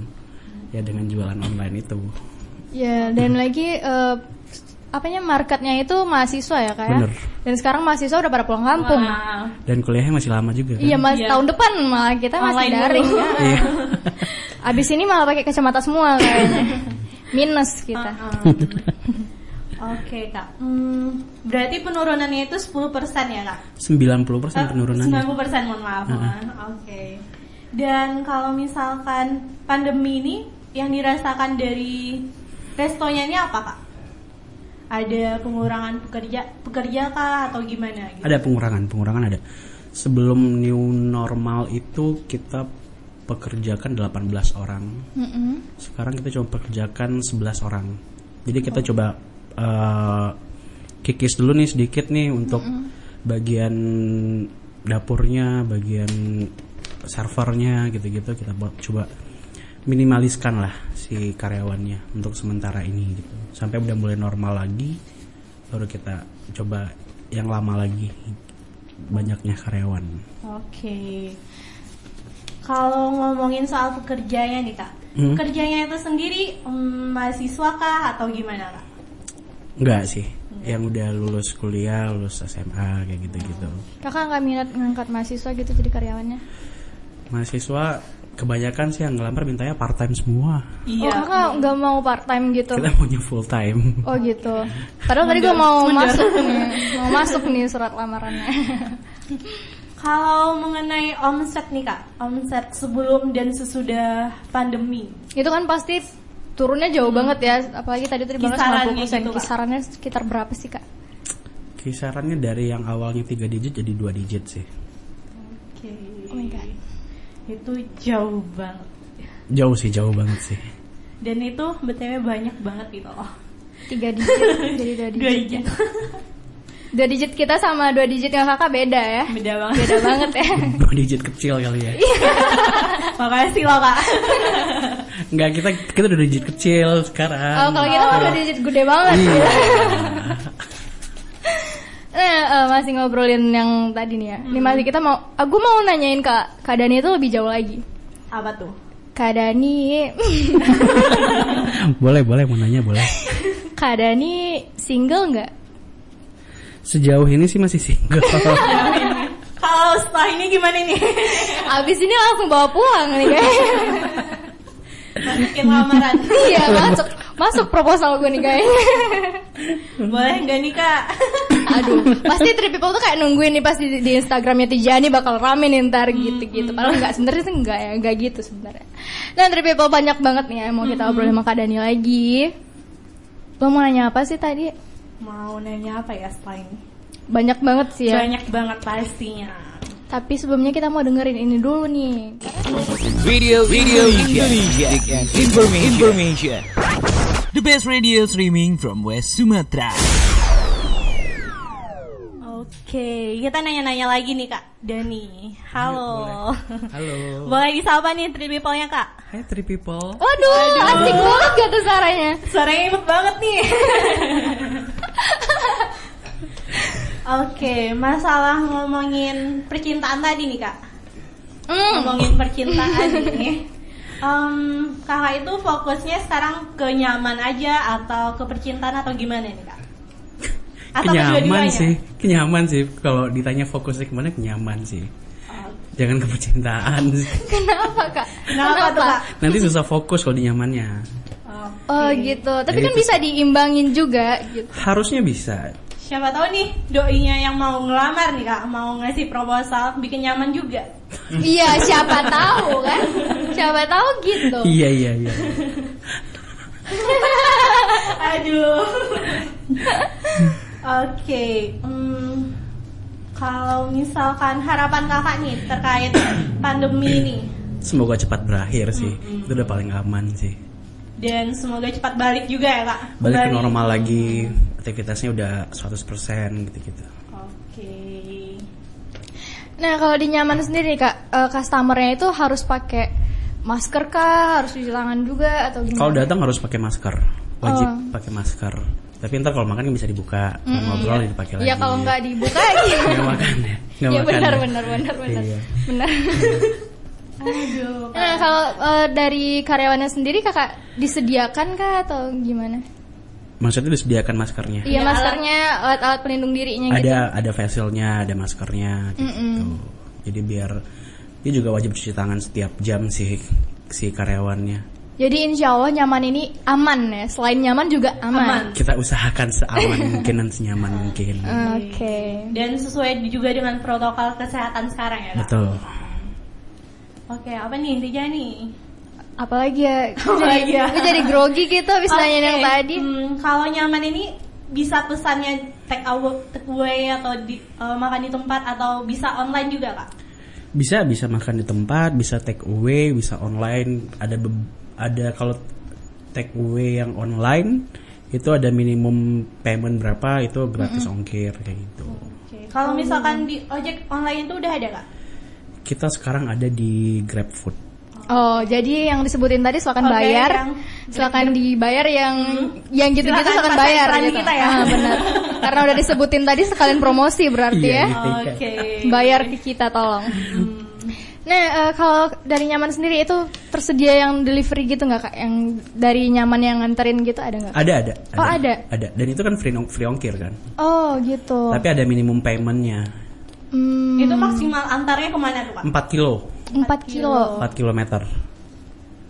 [SPEAKER 3] Ya dengan jualan online itu.
[SPEAKER 2] Ya dan lagi eh, apanya marketnya itu mahasiswa ya kak? ya?
[SPEAKER 3] Bener.
[SPEAKER 2] Dan sekarang mahasiswa udah pada pulang kampung.
[SPEAKER 1] Wow.
[SPEAKER 3] Dan kuliahnya masih lama juga kan.
[SPEAKER 2] Iya mas
[SPEAKER 1] Iya.
[SPEAKER 2] tahun depan malah kita masih
[SPEAKER 1] Online
[SPEAKER 2] daring.
[SPEAKER 1] dulu.
[SPEAKER 3] Iya.
[SPEAKER 2] Abis ini malah pakai kacamata semua kayaknya. Minus kita.
[SPEAKER 1] Um, Oke kak, Hmm, berarti penurunannya itu 10% ya kak?
[SPEAKER 3] 90%
[SPEAKER 1] Eh,
[SPEAKER 3] penurunannya.
[SPEAKER 1] 90% mohon maaf. Oke. Dan kalau misalkan pandemi ini yang dirasakan dari restonya ini apa kak? Ada pengurangan pekerja pekerja kah atau gimana? Gitu?
[SPEAKER 3] Ada pengurangan, pengurangan ada. Sebelum new normal itu kita pekerjakan 18 orang.
[SPEAKER 2] Mm-mm.
[SPEAKER 3] sekarang kita cuma pekerjakan 11 orang jadi kita coba eh, kikis dulu nih sedikit nih untuk bagian dapurnya bagian servernya gitu-gitu kita buat coba minimaliskan lah si karyawannya untuk sementara ini gitu sampai udah mulai normal lagi baru kita coba yang lama lagi banyaknya karyawan
[SPEAKER 1] Oke. Kalau ngomongin soal pekerjanya nih kak,
[SPEAKER 3] Hmm.
[SPEAKER 1] pekerjanya itu sendiri mm, mahasiswa kah atau gimana kak?
[SPEAKER 3] enggak sih yang udah lulus kuliah lulus SMA kayak gitu-gitu
[SPEAKER 2] Kakak nggak minat ngangkat mahasiswa gitu jadi karyawannya?
[SPEAKER 3] mahasiswa kebanyakan sih yang ngelamar mintanya part time semua
[SPEAKER 1] Iya.
[SPEAKER 2] Oh kakak nggak mau part time gitu?
[SPEAKER 3] kita maunya full time
[SPEAKER 2] Oh gitu. Padahal tadi gue mau masuk nih, mau masuk nih surat lamarannya.
[SPEAKER 1] Kalau mengenai omset nih kak, omset sebelum dan sesudah pandemi.
[SPEAKER 2] itu kan pasti turunnya jauh banget ya apalagi tadi tadi banget
[SPEAKER 1] Kisarannya Hmm.
[SPEAKER 2] 90%
[SPEAKER 1] gitu, Kak.
[SPEAKER 2] kisarannya sekitar berapa sih kak
[SPEAKER 3] Kisarannya dari yang awalnya 3 digit jadi 2 digit sih.
[SPEAKER 1] Oke.
[SPEAKER 2] Oh my God.
[SPEAKER 1] Itu jauh banget.
[SPEAKER 3] Jauh sih, jauh banget sih.
[SPEAKER 1] Dan itu BTW banyak banget gitu loh.
[SPEAKER 2] tiga digit jadi dua digit
[SPEAKER 1] Dua digit.
[SPEAKER 2] dua digit kita sama dua digit yang kakak beda ya
[SPEAKER 1] Beda banget.
[SPEAKER 2] beda banget ya
[SPEAKER 3] 2 digit kecil kali ya.
[SPEAKER 2] Iya.
[SPEAKER 1] Makasih loh, Kak.
[SPEAKER 3] Enggak, kita kita 2 digit kecil sekarang.
[SPEAKER 2] oh, kalau kita mah dua digit gede banget
[SPEAKER 3] Iya.
[SPEAKER 2] nah eh, masih ngobrolin yang tadi nih ya ini masih kita mau aku mau nanyain kak kak Dani itu lebih jauh lagi
[SPEAKER 1] Apa tuh?
[SPEAKER 2] kak Dani
[SPEAKER 3] boleh, boleh mau nanya boleh.
[SPEAKER 2] kak Dani single nggak
[SPEAKER 3] Sejauh ini sih masih single.
[SPEAKER 1] Kalau setelah ini gimana nih?
[SPEAKER 2] abis ini langsung bawa pulang nih kayaknya
[SPEAKER 1] Masukin lamaran.
[SPEAKER 2] Iya masuk masuk proposal gue nih kayaknya.
[SPEAKER 1] Boleh nggak nih, Kak?
[SPEAKER 2] Aduh, pasti three people tuh kayak nungguin nih pasti di, di Instagramnya Tijani bakal rame nih ntar gitu-gitu. Padahal nggak sebenarnya sih nggak ya, nggak gitu sebenarnya. Nah three people banyak banget nih ya yang mau kita obrolin sama Kak Dani lagi. Lo mau nanya apa sih tadi?
[SPEAKER 1] Mau nanya apa ya setelah ini?
[SPEAKER 2] Banyak banget sih ya.
[SPEAKER 1] Banyak banget pastinya.
[SPEAKER 2] Tapi sebelumnya kita mau dengerin ini dulu nih.
[SPEAKER 5] Radio, Radio Indonesia. Indonesia. Information. Information. The best radio streaming from West Sumatra.
[SPEAKER 1] Oke, kita nanya-nanya lagi nih Kak Dani. Halo.
[SPEAKER 3] Halo.
[SPEAKER 1] Boleh disapa nih three people-nya Kak?
[SPEAKER 3] Hai three people.
[SPEAKER 2] Waduh, asik banget gak tuh suaranya?
[SPEAKER 1] Suaranya imut banget nih. Oke, masalah ngomongin percintaan tadi nih Kak. Ngomongin percintaan nih. Em, kakak itu fokusnya sekarang ke nyaman aja atau ke percintaan atau gimana nih Kak? Atau
[SPEAKER 3] Kenyaman
[SPEAKER 1] kedua-duanya?
[SPEAKER 3] sih. Kenyaman sih kalau ditanya fokusnya kemana kenyaman sih.
[SPEAKER 2] Oh.
[SPEAKER 3] Jangan ke percintaan sih.
[SPEAKER 2] Kenapa kak?
[SPEAKER 1] Kenapa tuh Kak?
[SPEAKER 3] Nanti susah fokus kalau di nyamannya.
[SPEAKER 2] Oh
[SPEAKER 3] Nah,
[SPEAKER 2] gitu, tapi kan bisa diimbangin juga gitu.
[SPEAKER 3] Harusnya bisa.
[SPEAKER 1] Siapa tahu nih doinya yang mau ngelamar nih kak, mau ngasih proposal, bikin nyaman juga.
[SPEAKER 3] Hmm.
[SPEAKER 2] Iya, siapa tahu kan? Siapa tahu gitu.
[SPEAKER 3] Iya, iya, iya.
[SPEAKER 1] Aduh. Oke. hmm, kalau misalkan harapan kakak nih terkait pandemi ini
[SPEAKER 3] Semoga cepat berakhir sih. Itu udah paling aman sih.
[SPEAKER 1] dan semoga cepat balik juga ya kak.
[SPEAKER 3] Balik ke
[SPEAKER 1] Kembali.
[SPEAKER 3] normal lagi. Aktivitasnya udah 100% gitu-gitu.
[SPEAKER 1] Oke.
[SPEAKER 2] Nah, kalau di nyaman sendiri Kak, eh, customernya itu harus pakai masker kah, harus cuci tangan juga atau gimana?
[SPEAKER 3] Kalau datang harus pakai masker. Wajib
[SPEAKER 2] Iya. Oh.
[SPEAKER 3] pakai masker. Tapi ntar kalau makan kan bisa dibuka, Kalau ngobrol dipakai lagi.
[SPEAKER 2] Iya, kalau nggak dibuka ya.
[SPEAKER 3] Nggak makan ya. Nggak
[SPEAKER 2] Iya
[SPEAKER 3] makan
[SPEAKER 2] benar
[SPEAKER 3] ya.
[SPEAKER 2] benar benar benar.
[SPEAKER 3] Iya.
[SPEAKER 2] Benar.
[SPEAKER 1] Aduh. Kak.
[SPEAKER 2] Nah, kalau eh, dari karyawannya sendiri Kakak disediakan kah atau gimana?
[SPEAKER 3] Maksudnya disediakan maskernya.
[SPEAKER 2] Iya, maskernya alat-alat pelindung dirinya gitu.
[SPEAKER 3] Ada ada facialnya, ada maskernya gitu. Jadi biar dia juga wajib cuci tangan setiap jam sih si karyawannya.
[SPEAKER 2] Jadi insya Allah nyaman ini aman ya. Selain nyaman juga aman.
[SPEAKER 3] Kita usahakan seaman mungkin dan senyaman mungkin.
[SPEAKER 2] Oke.
[SPEAKER 1] Dan sesuai juga dengan protokol kesehatan sekarang ya kak.
[SPEAKER 3] Betul.
[SPEAKER 1] Oke, apa nih intinya nih?
[SPEAKER 2] Apalagi ya, gue
[SPEAKER 1] Apalagi
[SPEAKER 2] jadi,
[SPEAKER 1] ya?
[SPEAKER 2] gue jadi grogi gitu abis
[SPEAKER 1] Oke,
[SPEAKER 2] nanyain yang tadi.
[SPEAKER 1] hmm, kalau nyaman ini bisa pesannya take away, take away atau di, eh, makan di tempat atau bisa online juga kak?
[SPEAKER 3] Bisa bisa makan di tempat, bisa take away, bisa online. Ada be- ada kalau take away yang online itu ada minimum payment berapa itu gratis ongkir kayak gitu.
[SPEAKER 1] Oke. Kalau misalkan di ojek online itu udah ada kak?
[SPEAKER 3] Kita sekarang ada di GrabFood.
[SPEAKER 2] Oh, jadi yang disebutin tadi silakan
[SPEAKER 1] Oke,
[SPEAKER 2] bayar,
[SPEAKER 1] yang- Hmm.
[SPEAKER 2] silakan dibayar yang yang gitu-gitu
[SPEAKER 1] Silakan
[SPEAKER 2] silakan
[SPEAKER 1] pakai
[SPEAKER 2] bayar.
[SPEAKER 1] iklan
[SPEAKER 2] gitu.
[SPEAKER 1] kita ya.
[SPEAKER 2] Ah, benar. Karena udah disebutin tadi sekalian promosi berarti
[SPEAKER 3] Iya,
[SPEAKER 2] ya.
[SPEAKER 3] iya. Oke.
[SPEAKER 1] Oke. Hmm.
[SPEAKER 2] Bayar ke kita tolong. Nah, eh, kalau dari nyaman sendiri itu tersedia yang delivery gitu nggak kak? Yang dari nyaman yang nganterin gitu ada nggak?
[SPEAKER 3] Ada ada.
[SPEAKER 2] Oh, ada?
[SPEAKER 3] Ada. Dan itu kan free, nong- free ongkir kan.
[SPEAKER 2] Oh gitu.
[SPEAKER 3] Tapi ada minimum paymentnya
[SPEAKER 2] Hmm,
[SPEAKER 1] Itu maksimal antarnya kemana tuh kak?
[SPEAKER 3] 4 kilo,
[SPEAKER 2] 4 kilo.
[SPEAKER 3] 4 kilometer.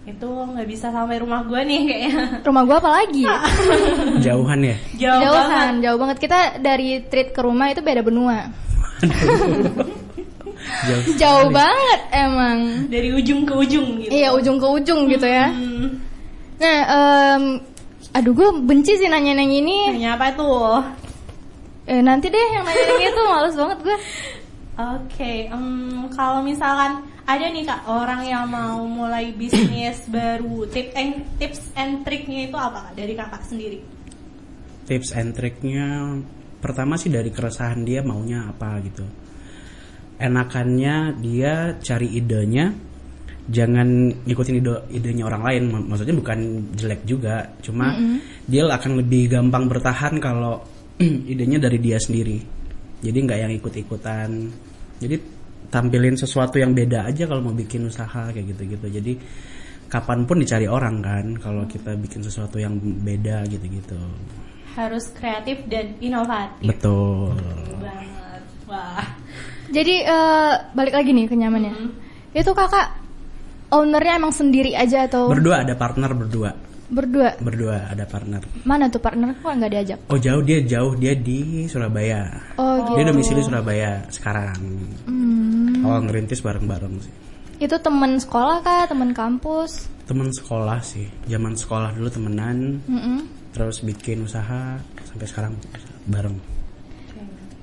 [SPEAKER 1] Itu nggak bisa sampai rumah gue nih kayaknya.
[SPEAKER 2] Rumah gua apa lagi?
[SPEAKER 3] Jauhan ya.
[SPEAKER 1] Jauh
[SPEAKER 2] jauh
[SPEAKER 1] banget.
[SPEAKER 2] kan, jauh banget. Kita dari treat ke rumah itu beda benua.
[SPEAKER 3] Jauh.
[SPEAKER 2] Jauh banget emang.
[SPEAKER 1] Dari ujung ke ujung gitu.
[SPEAKER 2] Iya, ujung ke ujung gitu ya.
[SPEAKER 1] Hmm.
[SPEAKER 2] Nah, em, aduh gue benci sih nanya nanya ini.
[SPEAKER 1] Nanya apa tuh?
[SPEAKER 2] Eh, nanti deh yang nanya nanya itu males banget gue.
[SPEAKER 1] Oke, em, kalau misalkan ada nih kak orang yang mau mulai bisnis baru, tip and, tips and triknya itu apa kak dari kakak sendiri?
[SPEAKER 3] tips and triknya pertama sih dari keresahan dia maunya apa gitu enakannya dia cari idenya jangan ngikutin ide idenya orang lain Mak- maksudnya bukan jelek juga cuma dia akan lebih gampang bertahan kalau idenya dari dia sendiri jadi nggak yang ikut-ikutan jadi tampilin sesuatu yang beda aja kalau mau bikin usaha kayak gitu-gitu jadi kapanpun dicari orang kan kalau kita bikin sesuatu yang beda gitu-gitu
[SPEAKER 1] Harus kreatif dan inovatif.
[SPEAKER 3] Betul.
[SPEAKER 1] Banget. Wah.
[SPEAKER 2] Jadi eh, balik lagi nih ke nyamannya. Itu kakak ownernya emang sendiri aja atau
[SPEAKER 3] Berdua ada partner berdua.
[SPEAKER 2] berdua?
[SPEAKER 3] Berdua ada partner.
[SPEAKER 2] Mana tuh partner kok nggak diajak?
[SPEAKER 3] Oh jauh dia jauh dia di Surabaya.
[SPEAKER 2] Oh, gitu.
[SPEAKER 3] Dia domisili Surabaya sekarang. Awal ngerintis bareng-bareng sih.
[SPEAKER 2] Itu temen sekolah kah? Temen kampus?
[SPEAKER 3] Teman sekolah sih. Zaman sekolah dulu temenan,
[SPEAKER 2] Mm-mm.
[SPEAKER 3] terus bikin usaha sampai sekarang bareng.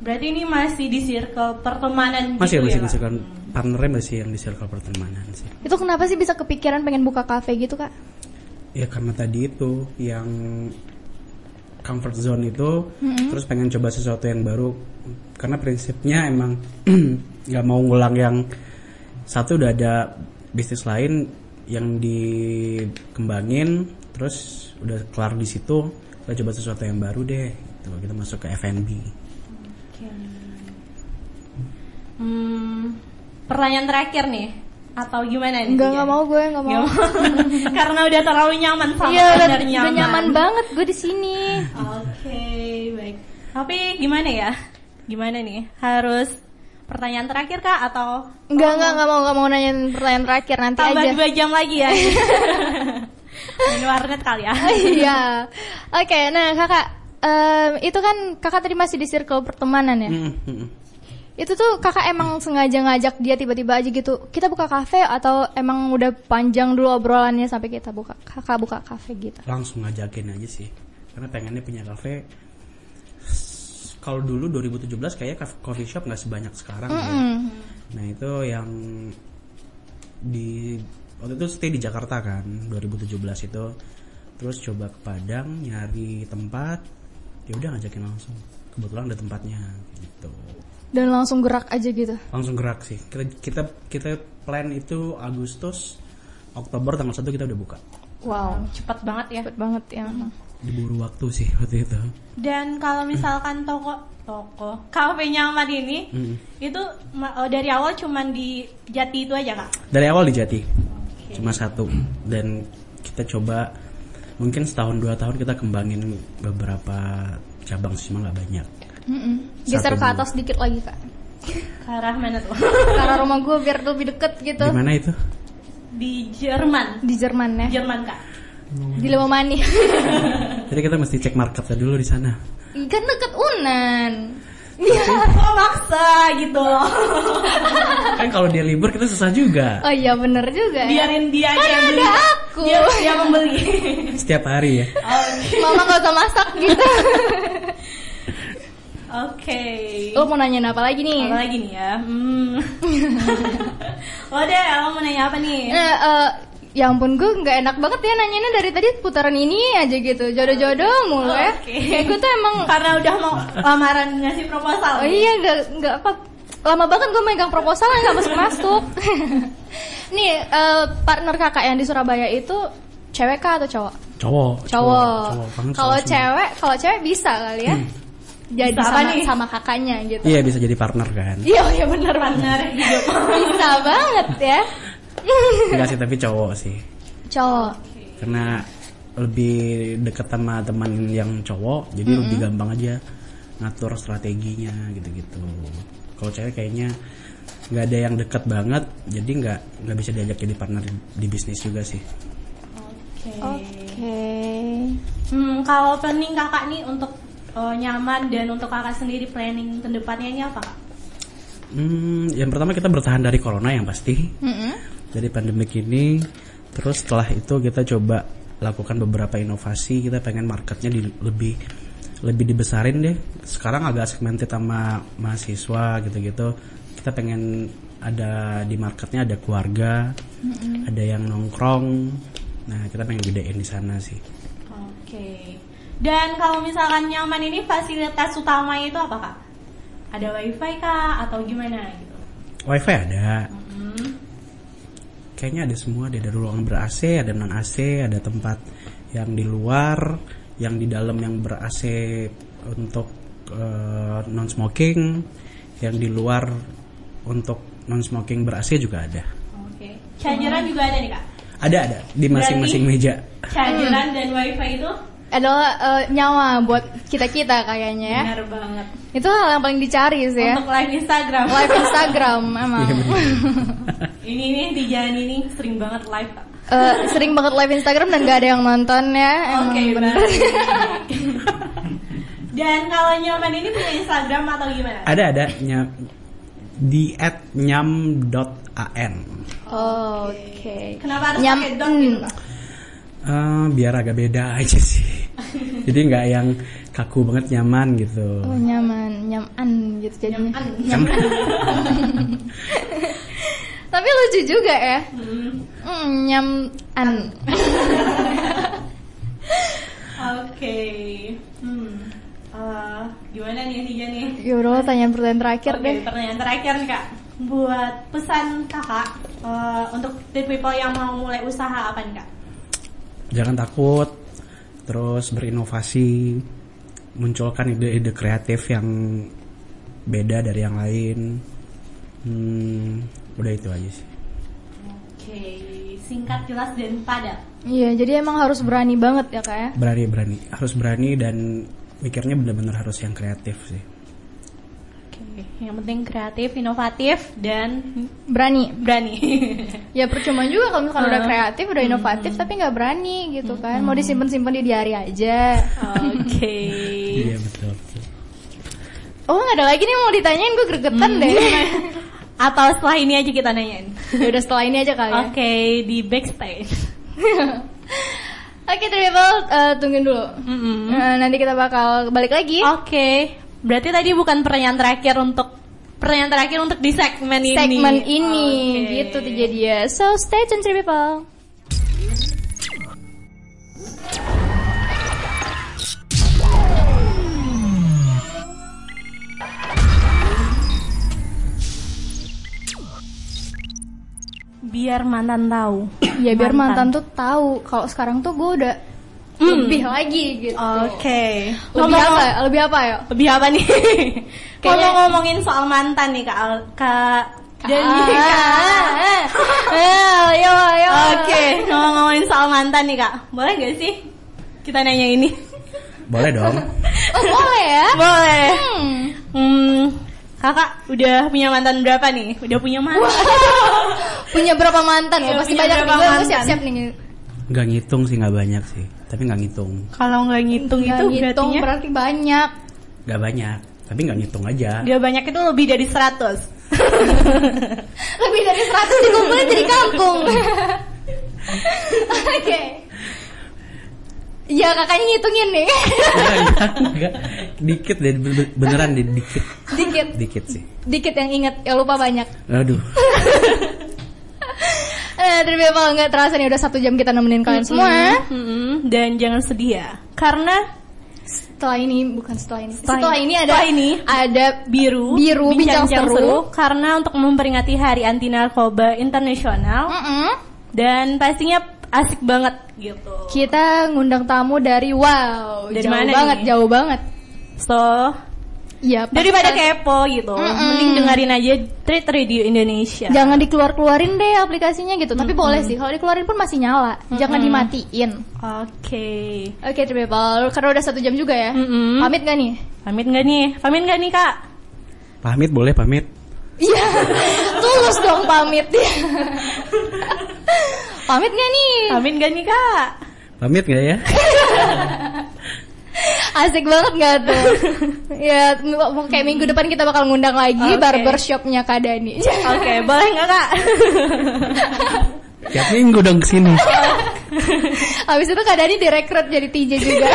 [SPEAKER 1] Berarti ini masih di circle pertemanan
[SPEAKER 3] Masih
[SPEAKER 1] gitu
[SPEAKER 3] masih
[SPEAKER 1] ya,
[SPEAKER 3] di
[SPEAKER 1] Kak?
[SPEAKER 3] circle partnernya masih yang di circle pertemanan sih.
[SPEAKER 2] Itu kenapa sih bisa kepikiran pengen buka kafe gitu kak?
[SPEAKER 3] Ya karena tadi itu yang comfort zone itu, terus pengen coba sesuatu yang baru. Karena prinsipnya emang nggak mau ngulang yang satu udah ada bisnis lain yang dikembangin, terus udah kelar di situ, kita coba sesuatu yang baru deh. Gitu. Kita masuk ke F&B.
[SPEAKER 1] Oke. Hmm, pertanyaan terakhir nih atau gimana nih?
[SPEAKER 2] Enggak nggak mau gue nggak
[SPEAKER 1] Nggak
[SPEAKER 2] mau.
[SPEAKER 1] mau. Karena udah terlalu nyaman sama
[SPEAKER 2] Iya udah,
[SPEAKER 1] owner
[SPEAKER 2] udah nyaman banget gue di sini.
[SPEAKER 1] Oke, baik. Tapi gimana ya? Gimana nih? Harus pertanyaan terakhir kak atau
[SPEAKER 2] Enggak enggak nggak mau nggak mau nanyain pertanyaan terakhir nanti
[SPEAKER 1] tambah
[SPEAKER 2] aja.
[SPEAKER 1] dua jam lagi ya? Main warnet kali ya.
[SPEAKER 2] Iya. Oke, nah kakak em, itu kan kakak tadi masih di circle pertemanan ya.
[SPEAKER 3] Mm, mm, mm.
[SPEAKER 2] Itu tuh kakak emang sengaja ngajak dia tiba-tiba aja gitu. Kita buka kafe atau emang udah panjang dulu obrolannya sampai kita buka kakak buka kafe gitu.
[SPEAKER 3] langsung ngajakin aja sih karena pengennya punya kafe S- kalau dulu 2017 kayaknya kaf- coffee shop nggak sebanyak sekarang ya. nah itu yang di waktu itu stay di Jakarta kan 2017 itu terus coba ke Padang nyari tempat ya udah ngajakin langsung kebetulan ada tempatnya gitu
[SPEAKER 2] Dan langsung gerak aja gitu.
[SPEAKER 3] langsung gerak sih kita kita kita plan itu Agustus Oktober tanggal 1 kita udah buka
[SPEAKER 2] Wow,
[SPEAKER 1] Cepat banget ya.
[SPEAKER 2] cepet banget ya. emang.
[SPEAKER 3] diburu waktu sih waktu itu
[SPEAKER 1] Dan kalau misalkan toko toko kafe nyaman ini
[SPEAKER 3] Mm.
[SPEAKER 1] itu ma- oh, dari awal cuman di Jati itu aja kak.
[SPEAKER 3] Dari awal di Jati. Cuma satu dan kita coba mungkin setahun dua tahun kita kembangin beberapa cabang sih cuma nggak banyak.
[SPEAKER 2] Mm-mm. Geser
[SPEAKER 3] Satu
[SPEAKER 2] ke
[SPEAKER 3] dulu.
[SPEAKER 2] atas dikit lagi kak.
[SPEAKER 1] Ke arah mana tuh?
[SPEAKER 2] Karena rumah gue biar lebih deket gitu.
[SPEAKER 3] Gimana itu?
[SPEAKER 1] di Jerman.
[SPEAKER 2] Di Jerman ya.
[SPEAKER 1] Jerman kak.
[SPEAKER 2] Di Lemomani.
[SPEAKER 3] Jadi kita mesti cek marketnya dulu di sana.
[SPEAKER 2] Ih, kan deket Unan. Iya.
[SPEAKER 1] Kok maksa gitu?
[SPEAKER 3] Kan kalau dia libur kita susah juga.
[SPEAKER 2] Oh iya bener juga ya.
[SPEAKER 1] Biarin dia aja yang
[SPEAKER 2] Kan
[SPEAKER 1] beli.
[SPEAKER 2] ada aku.
[SPEAKER 1] Dia, dia membeli.
[SPEAKER 2] Oh.
[SPEAKER 3] Setiap hari ya.
[SPEAKER 2] Mama gak usah masak gitu.
[SPEAKER 1] Oke.
[SPEAKER 2] Lo mau nanyain apa lagi nih?
[SPEAKER 1] Apa lagi nih ya? Hmm. Lo deh, lo mau nanya apa nih?
[SPEAKER 2] Nah, eh, ya ampun gue nggak enak banget ya nanyainnya dari tadi putaran ini aja gitu jodoh-jodoh mulu ya.
[SPEAKER 1] Oh, Oke.
[SPEAKER 2] Kayak gue tuh emang
[SPEAKER 1] Karena udah mau lamaran ngasih proposal.
[SPEAKER 2] Hmm. oh iya nggak nggak apa lama banget gue megang proposal nggak masuk masuk. nih eh, partner kakak yang di Surabaya itu cewek kah atau cowok?
[SPEAKER 3] Cowok.
[SPEAKER 2] Cowok.
[SPEAKER 3] cowok banget,
[SPEAKER 2] Kalau
[SPEAKER 3] cowok semua.
[SPEAKER 2] cewek kalau cewek bisa kali ya. Jadi
[SPEAKER 1] Bisa apa
[SPEAKER 2] sama,
[SPEAKER 1] nih?
[SPEAKER 2] sama kakaknya gitu.
[SPEAKER 3] Iya bisa jadi partner kan.
[SPEAKER 2] Iya, iya bener
[SPEAKER 1] Bener
[SPEAKER 2] bener.
[SPEAKER 1] hidup.
[SPEAKER 2] Bisa banget ya.
[SPEAKER 3] Enggak sih tapi cowok sih.
[SPEAKER 2] Cowok.
[SPEAKER 3] Karena lebih deket sama teman yang cowok jadi lebih gampang aja ngatur strateginya gitu-gitu kalau cewek kayaknya nggak ada yang deket banget jadi nggak nggak bisa diajak jadi partner di bisnis juga sih
[SPEAKER 1] Oke.
[SPEAKER 2] Oke.
[SPEAKER 1] Hmm, kalau planning kakak nih untuk eh, nyaman dan untuk kakak sendiri planning kedepannya ini apa kak?
[SPEAKER 3] hmm, yang pertama kita bertahan dari corona yang pasti
[SPEAKER 2] Mm-mm.
[SPEAKER 3] dari pandemik ini terus setelah itu kita coba lakukan beberapa inovasi kita pengen marketnya di- lebih lebih dibesarin deh sekarang agak segmented sama mahasiswa gitu-gitu kita pengen ada di marketnya ada keluarga ada yang nongkrong nah kita pengen gedein di sana sih
[SPEAKER 1] Oke. Dan kalau misalkan nyaman ini fasilitas utamanya itu apa kak? Ada wifi kak atau gimana gitu?
[SPEAKER 3] wifi ada
[SPEAKER 1] Mm-hmm.
[SPEAKER 3] kayaknya ada semua deh. ada ruangan ber AC ada non AC ada tempat yang di luar yang di dalam yang ber AC untuk non smoking yang di luar untuk non smoking ber AC juga ada
[SPEAKER 1] Oke.
[SPEAKER 2] Hmm.
[SPEAKER 1] Chargeran juga ada nih kak.
[SPEAKER 3] ada ada di masing-masing
[SPEAKER 1] Berarti-
[SPEAKER 3] meja
[SPEAKER 1] Chargeran
[SPEAKER 2] Hmm.
[SPEAKER 1] dan wifi itu
[SPEAKER 2] Adalah eh, nyawa buat kita-kita kayaknya ya.
[SPEAKER 1] benar banget.
[SPEAKER 2] Itu hal yang paling dicari sih ya.
[SPEAKER 1] Untuk live Instagram.
[SPEAKER 2] Live Instagram emang.
[SPEAKER 3] Iya,
[SPEAKER 1] ini nih di jalan ini sering banget live kak.
[SPEAKER 2] Eh, sering banget live Instagram dan gak ada yang nonton ya. Emang
[SPEAKER 1] Oke,
[SPEAKER 2] bener.
[SPEAKER 1] baik. Dan kalau nyaman ini punya Instagram atau gimana?
[SPEAKER 3] ada ada nyam di at nyam.an
[SPEAKER 2] Oh, Oke.
[SPEAKER 1] Kenapa harus
[SPEAKER 2] Nyam-
[SPEAKER 1] pakai dot gitu
[SPEAKER 2] hmm.
[SPEAKER 1] kak?
[SPEAKER 3] Eh, biar agak beda aja sih jadi nggak yang kaku banget nyaman gitu
[SPEAKER 2] Oh, nyaman, nyaman gitu jadinya.
[SPEAKER 1] Nyaman.
[SPEAKER 2] Tapi lucu juga ya.
[SPEAKER 1] Hmm.
[SPEAKER 2] Mm, nyaman.
[SPEAKER 1] Oke. Hmm. Eh, gimana nih Tiga nih?
[SPEAKER 2] Ya udah pertanyaan pertanyaan terakhir
[SPEAKER 1] Oke,
[SPEAKER 2] deh.
[SPEAKER 1] pertanyaan terakhir nih kak. Buat pesan kakak eh, untuk the people yang mau mulai usaha apa nih kak?
[SPEAKER 3] jangan takut terus berinovasi munculkan ide-ide kreatif yang beda dari yang lain hmm, udah itu aja sih
[SPEAKER 1] Oke, singkat jelas dan padat.
[SPEAKER 2] Iya, jadi emang harus berani banget ya kak ya.
[SPEAKER 3] berani berani harus berani dan mikirnya bener-bener harus yang kreatif sih
[SPEAKER 1] Oke, yang penting kreatif, inovatif dan
[SPEAKER 2] Berani.
[SPEAKER 1] berani.
[SPEAKER 2] Ya percuma juga kalau misalkan udah
[SPEAKER 1] Hmm.
[SPEAKER 2] kreatif, udah inovatif, tapi nggak berani gitu kan. Mau disimpan-simpan di diari aja.
[SPEAKER 1] Oke.
[SPEAKER 3] iya betul, betul.
[SPEAKER 2] Oh nggak ada lagi nih yang mau ditanyain gue gregetan deh.
[SPEAKER 1] Hmm. Atau setelah ini aja kita nanyain.
[SPEAKER 2] ya udah setelah ini aja kali ya.
[SPEAKER 1] Oke, di backstage.
[SPEAKER 2] Oke, Tribal, eh, tungguin dulu.
[SPEAKER 1] Mm-mm.
[SPEAKER 2] Eh, nanti kita bakal balik lagi.
[SPEAKER 1] Oke, berarti tadi bukan pertanyaan terakhir untuk pertanyaan terakhir untuk di segmen ini.
[SPEAKER 2] segmen ini
[SPEAKER 1] Oke.
[SPEAKER 2] gitu tuh jadi ya. So stay tuned Tree people.
[SPEAKER 1] Biar mantan tahu.
[SPEAKER 2] Ya biar mantan, tuh tahu kalau sekarang tuh gue udah lebih lagi gitu.
[SPEAKER 1] Oke.
[SPEAKER 2] Lebih
[SPEAKER 1] Ngomong-
[SPEAKER 2] apa? ya? Lebih apa ya?
[SPEAKER 1] Lebih apa nih? Kalau
[SPEAKER 2] Kayaknya-
[SPEAKER 1] ngomongin soal mantan nih Kak Al- Kak Dani.
[SPEAKER 2] Ah, eh, ayo, ayo.
[SPEAKER 1] Oke, ngomong-ngomongin soal mantan nih Kak. Boleh gak sih kita nanya ini?
[SPEAKER 3] boleh dong
[SPEAKER 2] Oh, boleh ya?
[SPEAKER 1] Boleh.
[SPEAKER 2] Hmm.
[SPEAKER 1] Hmm, kakak udah punya mantan berapa nih? Udah punya mantan?
[SPEAKER 2] Ya, Punya berapa mantan?
[SPEAKER 1] Iya,
[SPEAKER 2] Lo pasti
[SPEAKER 1] punya
[SPEAKER 2] banyak
[SPEAKER 1] berapa
[SPEAKER 2] nih. Gue
[SPEAKER 1] mantan?
[SPEAKER 2] siap-siap nih.
[SPEAKER 3] nggak ngitung sih nggak banyak sih tapi nggak ngitung
[SPEAKER 1] Kalau nggak ngitung itu
[SPEAKER 2] Nggak ngitung,
[SPEAKER 1] berarti ya?
[SPEAKER 2] berarti banyak.
[SPEAKER 3] nggak banyak tapi nggak ngitung aja
[SPEAKER 1] udah banyak itu lebih dari 100
[SPEAKER 2] lebih dari 100 dikumpulin jadi kampung. Oke. Ya kakaknya ngitungin nih.
[SPEAKER 3] Nggak, nggak, nggak. dikit deh bener- beneran deh dikit
[SPEAKER 2] dikit,
[SPEAKER 3] dikit sih
[SPEAKER 2] dikit yang inget, ya lupa banyak.
[SPEAKER 3] aduh
[SPEAKER 2] Eh, dari people nggak terasa nih udah satu jam kita nemenin kalian semua. eh.
[SPEAKER 1] Mm-mm, Hmm, dan jangan sedih ya karena
[SPEAKER 2] Setelah ini bukan setelah ini.
[SPEAKER 1] Setelah
[SPEAKER 2] Setelah,
[SPEAKER 1] ini.
[SPEAKER 2] ini ada
[SPEAKER 1] Setelah ini.
[SPEAKER 2] ada
[SPEAKER 1] biru
[SPEAKER 2] Biru, bincang seru.
[SPEAKER 1] karena untuk memperingati Hari Anti Narkoba Internasional
[SPEAKER 2] Mm-mm.
[SPEAKER 1] dan pastinya asik banget gitu
[SPEAKER 2] kita ngundang tamu dari wow
[SPEAKER 1] Dari
[SPEAKER 2] jauh
[SPEAKER 1] mana
[SPEAKER 2] banget
[SPEAKER 1] nih?
[SPEAKER 2] jauh banget
[SPEAKER 1] so
[SPEAKER 2] ya pas-
[SPEAKER 1] daripada kepo gitu mending dengerin aja Treat Radio Indonesia
[SPEAKER 2] jangan dikeluar-keluarin deh aplikasinya gitu tapi boleh sih kalau dikeluarin pun masih nyala jangan dimatiin
[SPEAKER 1] Oke,
[SPEAKER 2] Oke, okay, Karena udah satu jam juga ya.
[SPEAKER 1] Mm-mm.
[SPEAKER 2] Pamit gak nih?
[SPEAKER 1] pamit nggak nih? Pamit nggak nih kak?
[SPEAKER 3] pamit boleh pamit
[SPEAKER 2] Iya, tulus dong pamit. pamit gak nih?
[SPEAKER 1] Pamit nggak nih kak?
[SPEAKER 3] pamit nggak ya
[SPEAKER 2] Asik banget gak tuh? ya, m- kayak minggu depan kita bakal ngundang lagi
[SPEAKER 1] Oke.
[SPEAKER 2] barbershopnya Kak Dani.
[SPEAKER 1] Oke, boleh nggak kak?
[SPEAKER 3] tiap minggu dong kesini
[SPEAKER 2] Oke, Habis itu Kak Dani direkrut jadi TJ juga.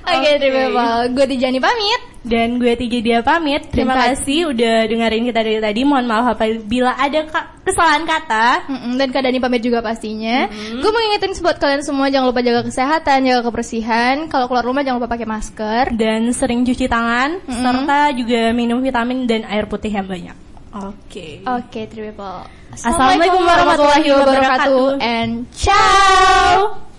[SPEAKER 2] Oke,
[SPEAKER 1] Oke.
[SPEAKER 2] terima kasih. Gue Tijani pamit.
[SPEAKER 1] Dan gue Tiga Dia pamit. Terima
[SPEAKER 2] Dan Kak-
[SPEAKER 1] kasih udah dengerin kita dari tadi. Mohon maaf apabila ada ka- kesalahan kata.
[SPEAKER 2] Mm-mm, dan Kak Dani pamit juga pastinya. Gue mau ngingetin buat kalian semua jangan lupa jaga kesehatan, jaga kebersihan. Kalau keluar rumah jangan lupa pakai masker.
[SPEAKER 1] Dan sering cuci tangan.
[SPEAKER 2] Mm-mm.
[SPEAKER 1] Serta juga minum vitamin dan air putih yang banyak. Oke.
[SPEAKER 2] Oke, Tribble.
[SPEAKER 1] Assalamualaikum warahmatullahi wabarakatuh.
[SPEAKER 2] and ciao.